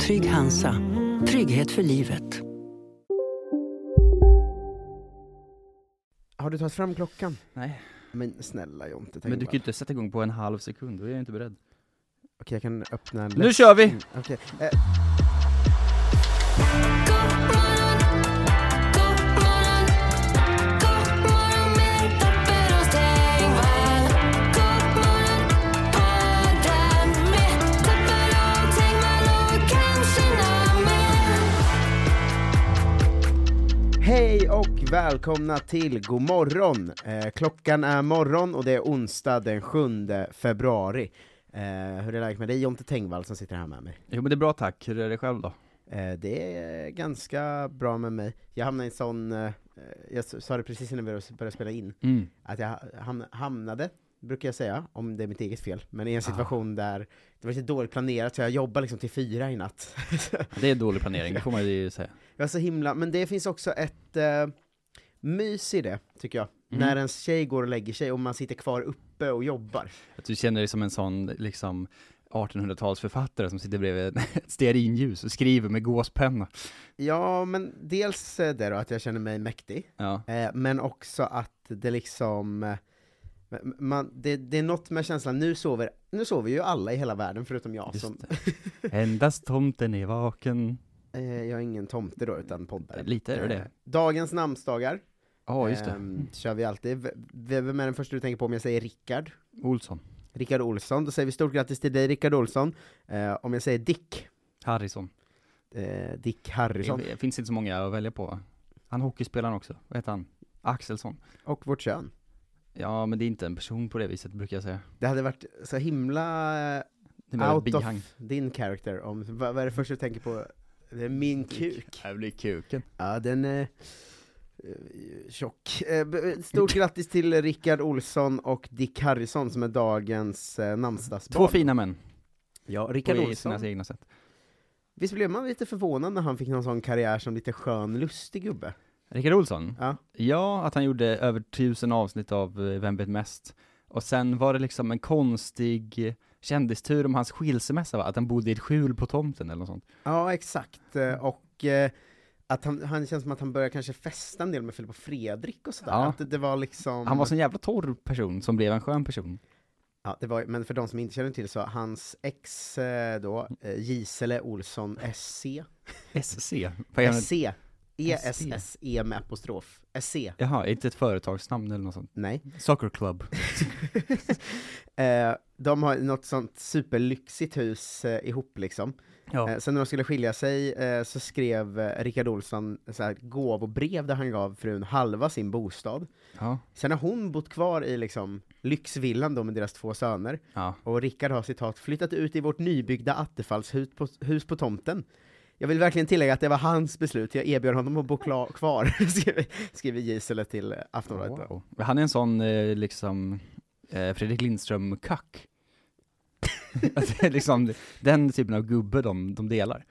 Trygg Hansa. Trygghet för livet. Har du tagit fram klockan? Nej. Men snälla Jonte, tänk Men du bara. kan ju inte sätta igång på en halv sekund, då är jag inte beredd. Okej, jag kan öppna en Nu kör vi! Mm, Okej, eh, hej och välkomna till God morgon. Eh, klockan är morgon och det är onsdag den 7 februari. Eh, hur är läget med dig? Jonte Tengvall som sitter här med mig. Jo men det är bra tack, hur är det själv då? Eh, det är ganska bra med mig. Jag hamnade i en sån, eh, jag s- sa det precis innan vi började spela in, Mm. att jag hamn- hamnade, brukar jag säga, om det är mitt eget fel, men i en situation där det var lite dåligt planerat, så jag jobbade liksom till fyra i natt. Det är dålig planering, det får man ju säga. jag var så himla, men det finns också ett eh, mys i det, tycker jag. När ens tjej går och lägger sig och man sitter kvar uppe och jobbar. Att du känner dig som en sån, liksom, 1800-talsförfattare som sitter bredvid ett stearinljus och skriver med gåspenna. Ja, men dels eh, det då, att jag känner mig mäktig, Ja. Eh, men också att det liksom, eh, man, det, det är något med känslan, nu sover, nu sover ju alla i hela världen förutom jag Just som, Endast tomten är vaken. eh, jag är ingen tomte då utan poddare. Lite är det Eh, det. Dagens namnsdagar, Ja, just det. Mm. ehm, kör vi alltid. V- v- Vem är den första du tänker på om jag säger Rickard? Olsson. Rickard Olsson, då säger vi stort grattis till dig Rickard Olsson. Eh, om jag säger Dick, Harrison. eh, Dick Det, Harrison, det finns inte så många att välja på. va? Han hockeyspelaren också, vad heter han? Axelsson. och vårt kön. Ja, men det är inte en person på det viset brukar jag säga. Det hade varit så himla eh, Det är mer ett Out of- bihang. din character, om, vad, vad är det första du tänker på? Det är min kuk. Det blir kuken. Ja, den är eh, tjock. Eh, b- Stort grattis till Rickard Olsson och Dick Harrison som är dagens eh, namnsdagsbarn. Två fina män. Ja, På Rickard i sina Olsson. egna sätt. Visst blev man lite förvånad när han fick någon sån karriär som lite skön, lustig gubbe? Rickard Olsson? Ja. Ja, att han gjorde över tusen avsnitt av eh, Vem vet mest? Och sen var det liksom en konstig kändistur om hans skilsmässa va? Att han bodde i ett skjul på tomten eller något sånt. Ja, exakt. Eh, Och eh, att han, han känns som att han började kanske festa en del med Filip och Fredrik och sådär. Ja. Att det, det var liksom... Han var en sån jävla torr person som blev en skön person. Ja, det var, men för de som inte känner till så, hans ex eh, då, eh, Gisele Olsson SC, SC? Vad är han? SC, E E-S-S-E med apostrof, SC, Jaha, är inte ett företagsnamn eller något sånt? nej. Soccer club. Eh, de har något sånt superlyxigt hus eh, ihop liksom. Ja. Eh, sen när de skulle skilja sig eh, så skrev eh, Rickard Olsson så här, gåvobrev där han gav frun halva sin bostad. Ja. Sen har hon bott kvar i liksom lyxvillan då med deras två söner. Ja. Och Rickard har citat flyttat ut i vårt nybyggda Attefallshus på, hus på tomten. Jag vill verkligen tillägga att det var hans beslut, jag erbjöd honom att bo kla- kvar, skriver- skriver Gisela till eh, Aftonbladet. Wow. Han är en sån eh, liksom eh, Fredrik Lindström-kack. Att det är liksom den typen av gubbe de, de delar.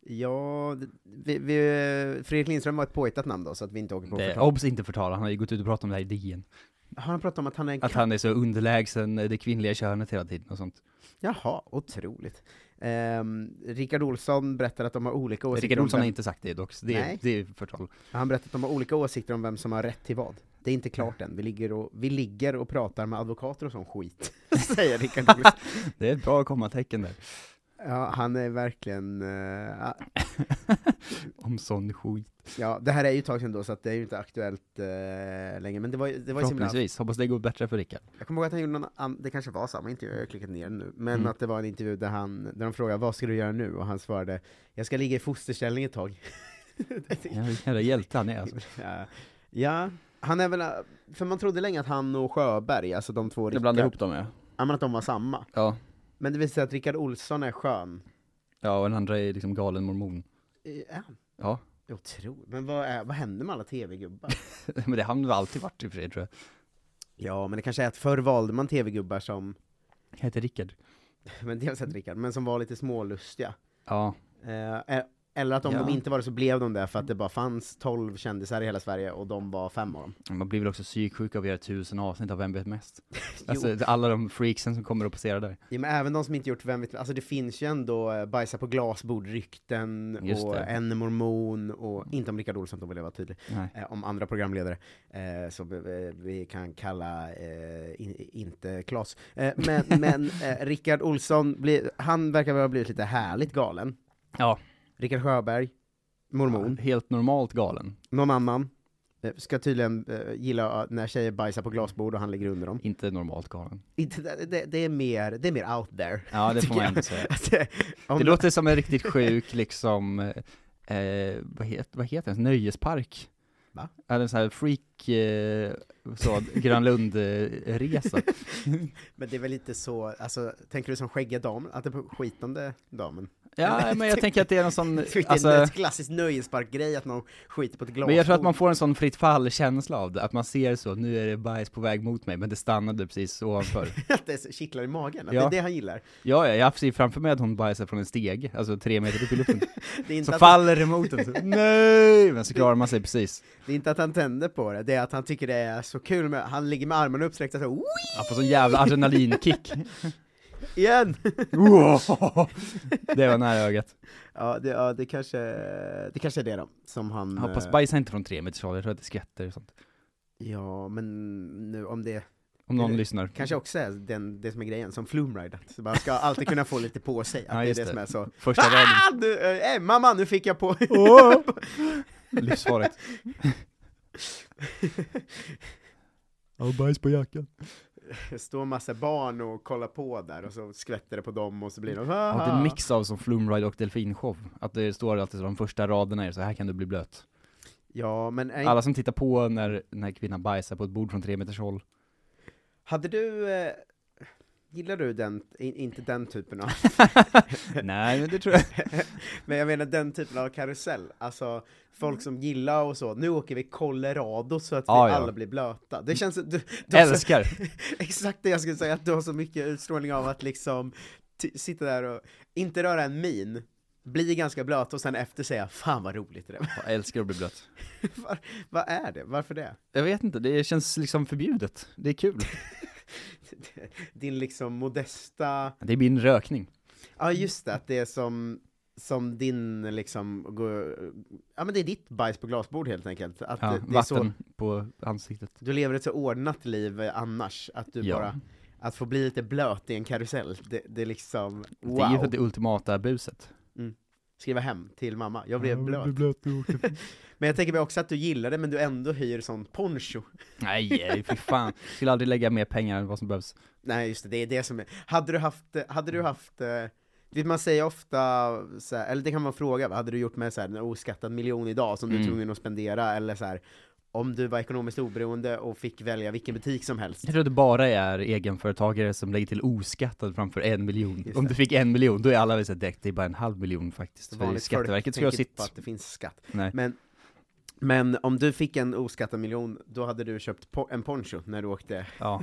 Ja, det- vi, vi, Fredrik Lindström var ett påhittat namn då, så att vi inte åker på Det, förtal. Eh, obs inte förtal, han har ju gått ut och pratat om det här i DN. Har han pratat om att han är en Att katt? han är så underlägsen eh, det kvinnliga könet hela tiden och sånt. Jaha, otroligt. Um, Rickard Olsson berättar att de har olika åsikter Rickard om Olsson vem- har inte sagt det dock, så det, Nej. är- det är förtal. Han berättar att de har olika åsikter om vem som har rätt till vad. Det är inte klart än, vi ligger och, vi ligger och pratar med advokater och sån skit, säger Rickard Olsson. Det är ett bra kommatecken där. Ja, han är verkligen... eh, ah, Om sån skit. Ja, det här är ju ett tag sedan då, så att det är ju inte aktuellt eh, längre, men det var, ju- det var ju så himla... Förhoppningsvis. Hoppas det går bättre för Rickard. Jag kommer ihåg att han gjorde någon, an- det kanske var samma intervju, jag har klickat ner den nu, men Mm. att det var en intervju där han, där de frågade vad ska du göra nu? Och han svarade, jag ska ligga i fosterställning ett tag. Ja, vilken jävla hjälte han är alltså. ja. ja, han är väl, eh, för man trodde länge att han och Sjöberg, alltså de två Jag Rickard, blandar ihop dem ja. ja, men att de var samma. Ja. Men det visar sig att Rickard Olsson är skön. Ja, och den andra är liksom galen mormon. Eh, Är han? Ja, Jag tror, men vad, är, vad händer med alla tv-gubbar? men det har han väl alltid varit i och för sig tror jag. ja, men det kanske är att förr valde man tv-gubbar som, Jag heter Rickard. men dels att Rickard, men som var lite smålustiga. Ja, Eh, e- eller att om Ja. de inte var det så blev de det för att det bara fanns 12 kändisar i hela Sverige och de var fem av dem. man blir väl också psyksjuk av att göra tusen avsnitt av Vem vet mest? Alltså alla de freaksen som kommer och passerar där. Ja, men även de som inte gjort Vem vet, alltså det finns ju ändå eh, bajsa på glasbord rykten Just och det. en mormon och inte om Rickard Olsson, då vill jag vara tydlig, Nej. eh, om andra programledare eh, som eh, vi kan kalla eh, in, inte Klas. Eh, men men eh, Rickard Olsson, blir, han verkar väl ha blivit lite härligt galen. Ja. Rickard Sjöberg, mormon. Helt normalt galen. Någon annan eh, ska tydligen eh, gilla när tjejer bajsar på glasbord och han ligger under dem. Inte normalt galen. Inte, det, det, det, är mer, det är mer out there. Ja, det tycker får man jag. ändå säga. Att det- om Det det- låter som en riktigt sjuk liksom, eh, eh, vad, het, vad heter den, nöjespark? Va? Eller en sån här freak, eh, så, Grönlund-resa. Men det är väl lite så, alltså, tänker du som skäggiga damen? Att det är på skitande damen? ja, men jag tänker att det är någon sån, Det är alltså... alltså, en klassisk nöjesparkgrej att någon skiter på ett glasbord. men jag tror att man får en sån fritt fall-känsla av det, att man ser så, nu är det bajs på väg mot mig, men det stannade precis ovanför. att det kittlar i magen, att Ja. det är det han gillar. ja, ja, jag ser framför mig att hon bajsar från en steg, alltså tre meter upp i luften. Det är, Så inte att, faller det mot en, så, nej! Men så klarar man sig precis. det är inte att han tänder på det, det är att han tycker det är så kul med, han ligger med armarna uppsträckta så, "Wii, Ja, får sån jävla adrenalinkick. igen! det var nära ögat. Ja, det, ja, det kanske, det kanske är det då, som han... Jag hoppas eh, bajsa inte från tre meters håll, jag tror att det skvätter och sånt. Ja, men nu om det Om någon Eller- lyssnar. kanske också är den, det som är grejen, som Flumride, att man ska alltid kunna få lite på sig, att Ja, det är just det, det. som är så Första Ah, raden. nu, eh, eh, mamma, nu fick jag på... Livsfarligt. Och bajs på jackan. Det står massa barn och kollar på där, och så skvätter det på dem, och så blir de... "Ah." Ja, det är en mix av som Flumride och Delfinshow. Att det står alltid så, de första raderna är så här kan du bli blöt. Ja, men eh, är, Alla som tittar på när, när kvinnan bajsar på ett bord från tre meters håll. hade du... Eh, gillar du den, i- inte den typen av... Nej, men det tror jag. men jag menar den typen av karusell, alltså folk som gillar och så, nu åker vi Colorado så att Ja, vi Ah, ja. alla blir blöta. Det känns... Du, du har så- Älskar. Exakt det jag skulle säga, att du har så mycket utstrålning av att liksom t- sitta där och inte röra en min, bli ganska blöt och sen efter säga 'Fan vad roligt det där var." Jag älskar att bli blöt. Var, Vad är det? Varför det? Jag vet inte, det känns liksom förbjudet. Det är kul. Din liksom modesta, Det är min rökning. ja just det, att det är som, som din liksom, gå- ja men det är ditt bajs på glasbord helt enkelt. Att Ja, det, det är så, vatten på ansiktet. du lever ett så ordnat liv eh, annars, att du Ja. bara, att få bli lite blöt i en karusell, det, det är liksom, wow. Det är ju för det ultimata buset. skriva hem till mamma, jag blev blöt. men jag tänker mig också att du gillar det, men du ändå hyr sån poncho. Nej, eh, fy fan. Skulle aldrig lägga mer pengar än vad som behövs. Nej just det, det är det som är, hade du haft, hade Mm. du haft, eh, vet man säger ofta, så här, eller det kan man fråga, vad hade du gjort med så här, en oskattad miljon idag som du är Mm. tvungen att spendera, eller så här, om du var ekonomiskt oberoende och fick välja vilken butik som helst. Jag tror att det bara är egenföretagare som lägger till oskattad framför en miljon. Just Om det. du fick en miljon, då är alla väl så här, direkt, det är bara en halv miljon faktiskt. För Vanligt Skatteverket folk ska ha tänker på sitt. att det finns skatt. Nej. Men, men om du fick en oskattad miljon, då hade du köpt po- en poncho när du åkte Ja.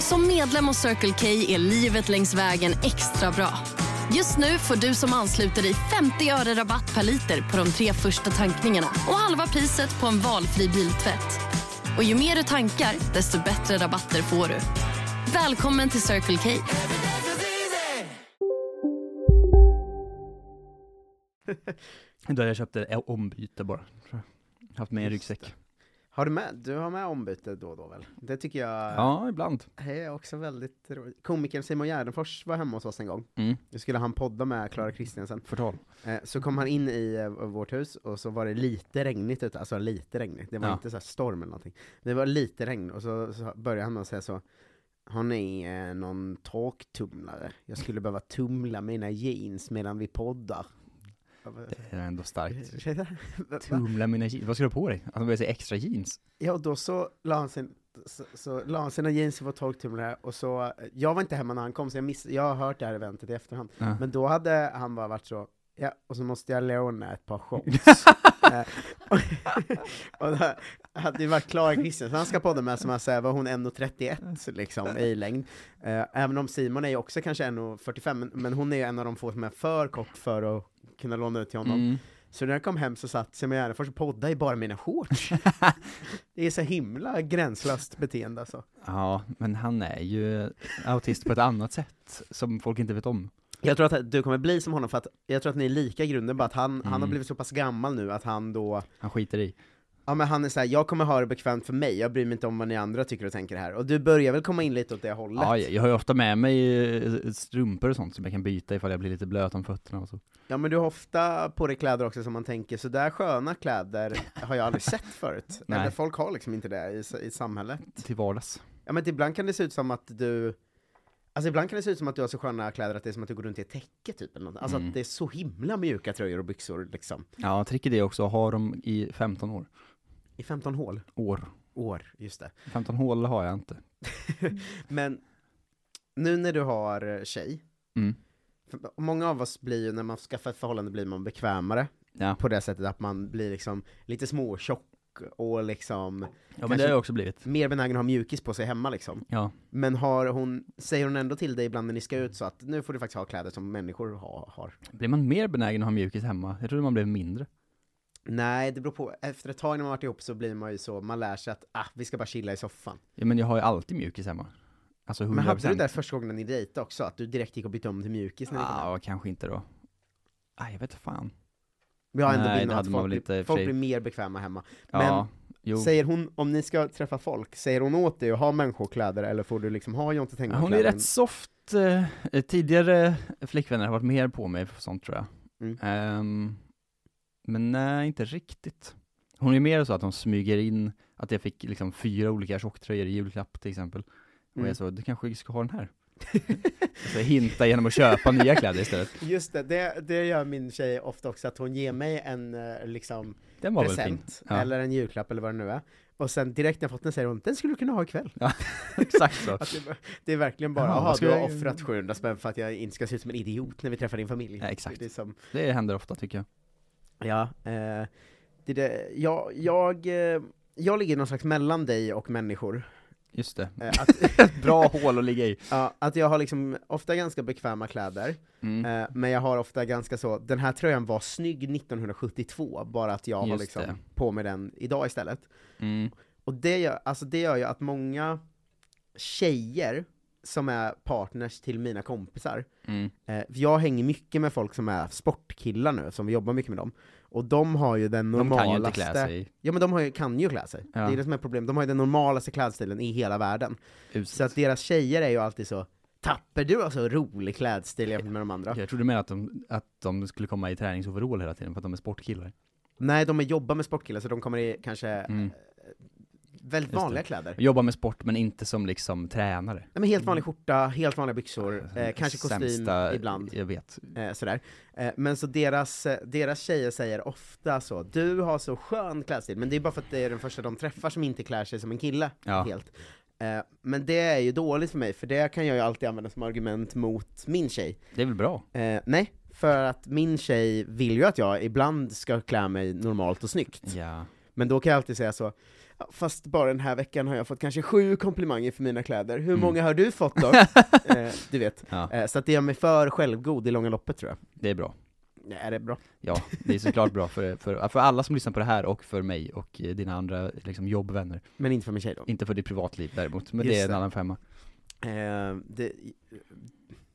Som medlem hos Circle K är livet längs vägen extra bra. Just nu får du som ansluter dig 50 öre rabatt per liter på de tre första tankningarna och halva priset på en valfri biltvätt. Och ju mer du tankar, desto bättre rabatter får du. Välkommen till Circle K. Då jag köpte ett ombyte bara, tror jag. Haft med en Just ryggsäck. Har du med, du har med ombyte då och då väl? Det tycker jag Ja, ibland. det är också väldigt roligt. Komikern Simon Gärdenfors var hemma hos oss en gång. Mm. Nu skulle han podda med Clara Kristiansen. Förtal. Eh, så kom han in i eh, vårt hus och så var det lite regnigt ute, alltså lite regnigt. Det var Ja. inte så här storm eller någonting. Det var lite regn och så, så började han med att säga så har ni eh, någon torktumlare? Jag skulle behöva tumla mina jeans medan vi poddar. Jag bara, Det är ändå starkt. "Ursäkta? Va- va?" Tumla mina jeans. Vad ska du ha på dig? Att de börjar säga extra jeans? Ja, och då så la han sin så, så la han sina jeans i vår torktumlare och så, eh, jag var inte hemma när han kom så jag, miss, jag har hört det här eventet i efterhand. Ja. Men då hade han bara varit så, ja, och så måste jag låna ett par shorts. Eh, och- och då hade det varit Klara Kristiansen han ska podda med som han säger var hon 1,31 liksom i längd. Eh, även om Simon är ju också kanske 1,45, men, men hon är ju en av de få som är för kort för att kunna låna ut till honom. Mm. Så när jag kom hem så satt Simon Gärdenfors och poddade i bara mina shorts. det är så himla gränslöst beteende alltså. Ja, men han är ju autist på ett annat sätt, som folk inte vet om. Jag tror att du kommer bli som honom för att jag tror att ni är lika i grunden, bara att han, han har Mm. blivit så pass gammal nu att han då, Han skiter i. ja men han är såhär, jag kommer ha det bekvämt för mig, jag bryr mig inte om vad ni andra tycker och tänker här. Och du börjar väl komma in lite åt det hållet? Ja, jag jag har ju ofta med mig eh, strumpor och sånt som jag kan byta ifall jag blir lite blöt om fötterna och så. Ja men du har ofta på dig kläder också som man tänker, så där sköna kläder har jag aldrig sett förut. Nej. Eller folk har liksom inte det i, s- i samhället. Till vardags. Ja men ibland kan det se ut som att du Alltså ibland kan det se ut som att du har så sköna kläder att det är som att du går runt i ett täcke typ eller något. Alltså Mm. att det är så himla mjuka tröjor och byxor liksom Ja, tricket är också att ha dem i 15 år. I 15 hål, År. år, just det 15 hål har jag inte. Men nu när du har eh, tjej Mm. för Många av oss blir ju, när man skaffar ett förhållande blir man bekvämare Ja, På det sättet att man blir liksom lite småtjock och liksom ja men Kanske- det har jag också blivit. mer benägen att ha mjukis på sig hemma liksom Ja. Men har hon, säger hon ändå till dig ibland när ni ska ut så att nu får du faktiskt ha kläder som människor ha, har? Blir man mer benägen att ha mjukis hemma? Jag trodde man blev mindre. Nej, det beror på. Efter ett tag när man varit ihop så blir man ju så, man lär sig att ah, vi ska bara chilla i soffan. Ja, men jag har ju alltid mjukis hemma. Alltså 100%. Men hade du det första gången ni dejtade också? Att du direkt gick och bytte om till mjukis när ni kom hem? Ja, kanske inte då. Nej, jag vet fan. Vi har ändå nej, bilden det av att hade man folk, väl inte i blir, och för folk sig. blir mer bekväma hemma. ja, jo. Säger hon, om ni ska träffa folk, säger hon åt dig att ha människokläder eller får du liksom ha Jonte Ja, Hon är Tengvall-kläder? rätt soft. eh, Tidigare flickvänner har varit mer på mig för sånt tror jag. Mm. Ehm, men nej, inte riktigt. Hon är mer så att hon smyger in att jag fick liksom fyra olika tjocktröjor i julklapp till exempel. Och Mm. jag sa, du kanske ska ha den här? alltså hinta genom att köpa nya kläder istället. Just det, det, det gör min tjej ofta också, att hon ger mig en eh, liksom Den var väl fin? present, Ja. eller en julklapp eller vad det nu är. Och sen direkt när jag fått den säger hon, den skulle du kunna ha ikväll. Exakt så. Att det, det är verkligen bara, Jaha, jaha, vad du ska har jag- offrat 700 spänn för att jag inte ska se ut som en idiot när vi träffar din familj. Ja, exakt. Det är som, Det händer ofta tycker jag. ja, eh, det är det, jag, jag, eh, jag ligger någon slags mellan dig och människor. Just det. Eh, att, Bra hål att ligga i. ja, att jag har liksom ofta ganska bekväma kläder, Mm. eh, men jag har ofta ganska så, den här tröjan var snygg 1972, bara att jag har Just liksom det. på mig den idag istället. Mm. Och det gör, alltså det gör ju att många tjejer som är partners till mina kompisar, Mm. Eh, för jag hänger mycket med folk som är sportkillar nu, som vi jobbar mycket med dem. Och de har ju den De normalaste... kan ju inte klä sig Ja men de har ju, kan ju klä sig. Ja. Det är det som är problemet. De har ju den normalaste klädstilen i hela världen. uselt. Så att deras tjejer är ju alltid så Tapper du har så rolig klädstil jämfört med de andra. Jag trodde mer att de, att de skulle komma i träningsoverall hela tiden för att de är sportkillar. Nej, de är jobbar med sportkillar så de kommer i kanske eh, Mm. väldigt Just vanliga det. kläder. Jobbar med sport men inte som liksom tränare. Nej, men helt vanlig skjorta, helt vanliga byxor, eh, kanske kostym Sämsta- ibland. Jag vet. Eh, sådär. Eh, men så deras, eh, deras tjejer säger ofta så, du har så skön klädstil, men det är bara för att det är den första de träffar som inte klär sig som en kille Ja. helt. Eh, men det är ju dåligt för mig, för det kan jag ju alltid använda som argument mot min tjej. Det är väl bra? Eh, nej, för att min tjej vill ju att jag ibland ska klä mig normalt och snyggt. Ja. Men då kan jag alltid säga så, Ja, Fast bara den här veckan har jag fått kanske sju komplimanger för mina kläder. Hur många har du fått då? eh, du vet. Mm. Ja. Eh, så att det gör mig för självgod i långa loppet tror jag. Det är bra. Nej, är det bra? Ja, det är såklart bra för, för, för alla som lyssnar på det här och för mig och eh, dina andra liksom, jobbvänner. Men inte för min tjej då. Inte för ditt privatliv däremot, men Just det är en det. annan femma. Eh, det,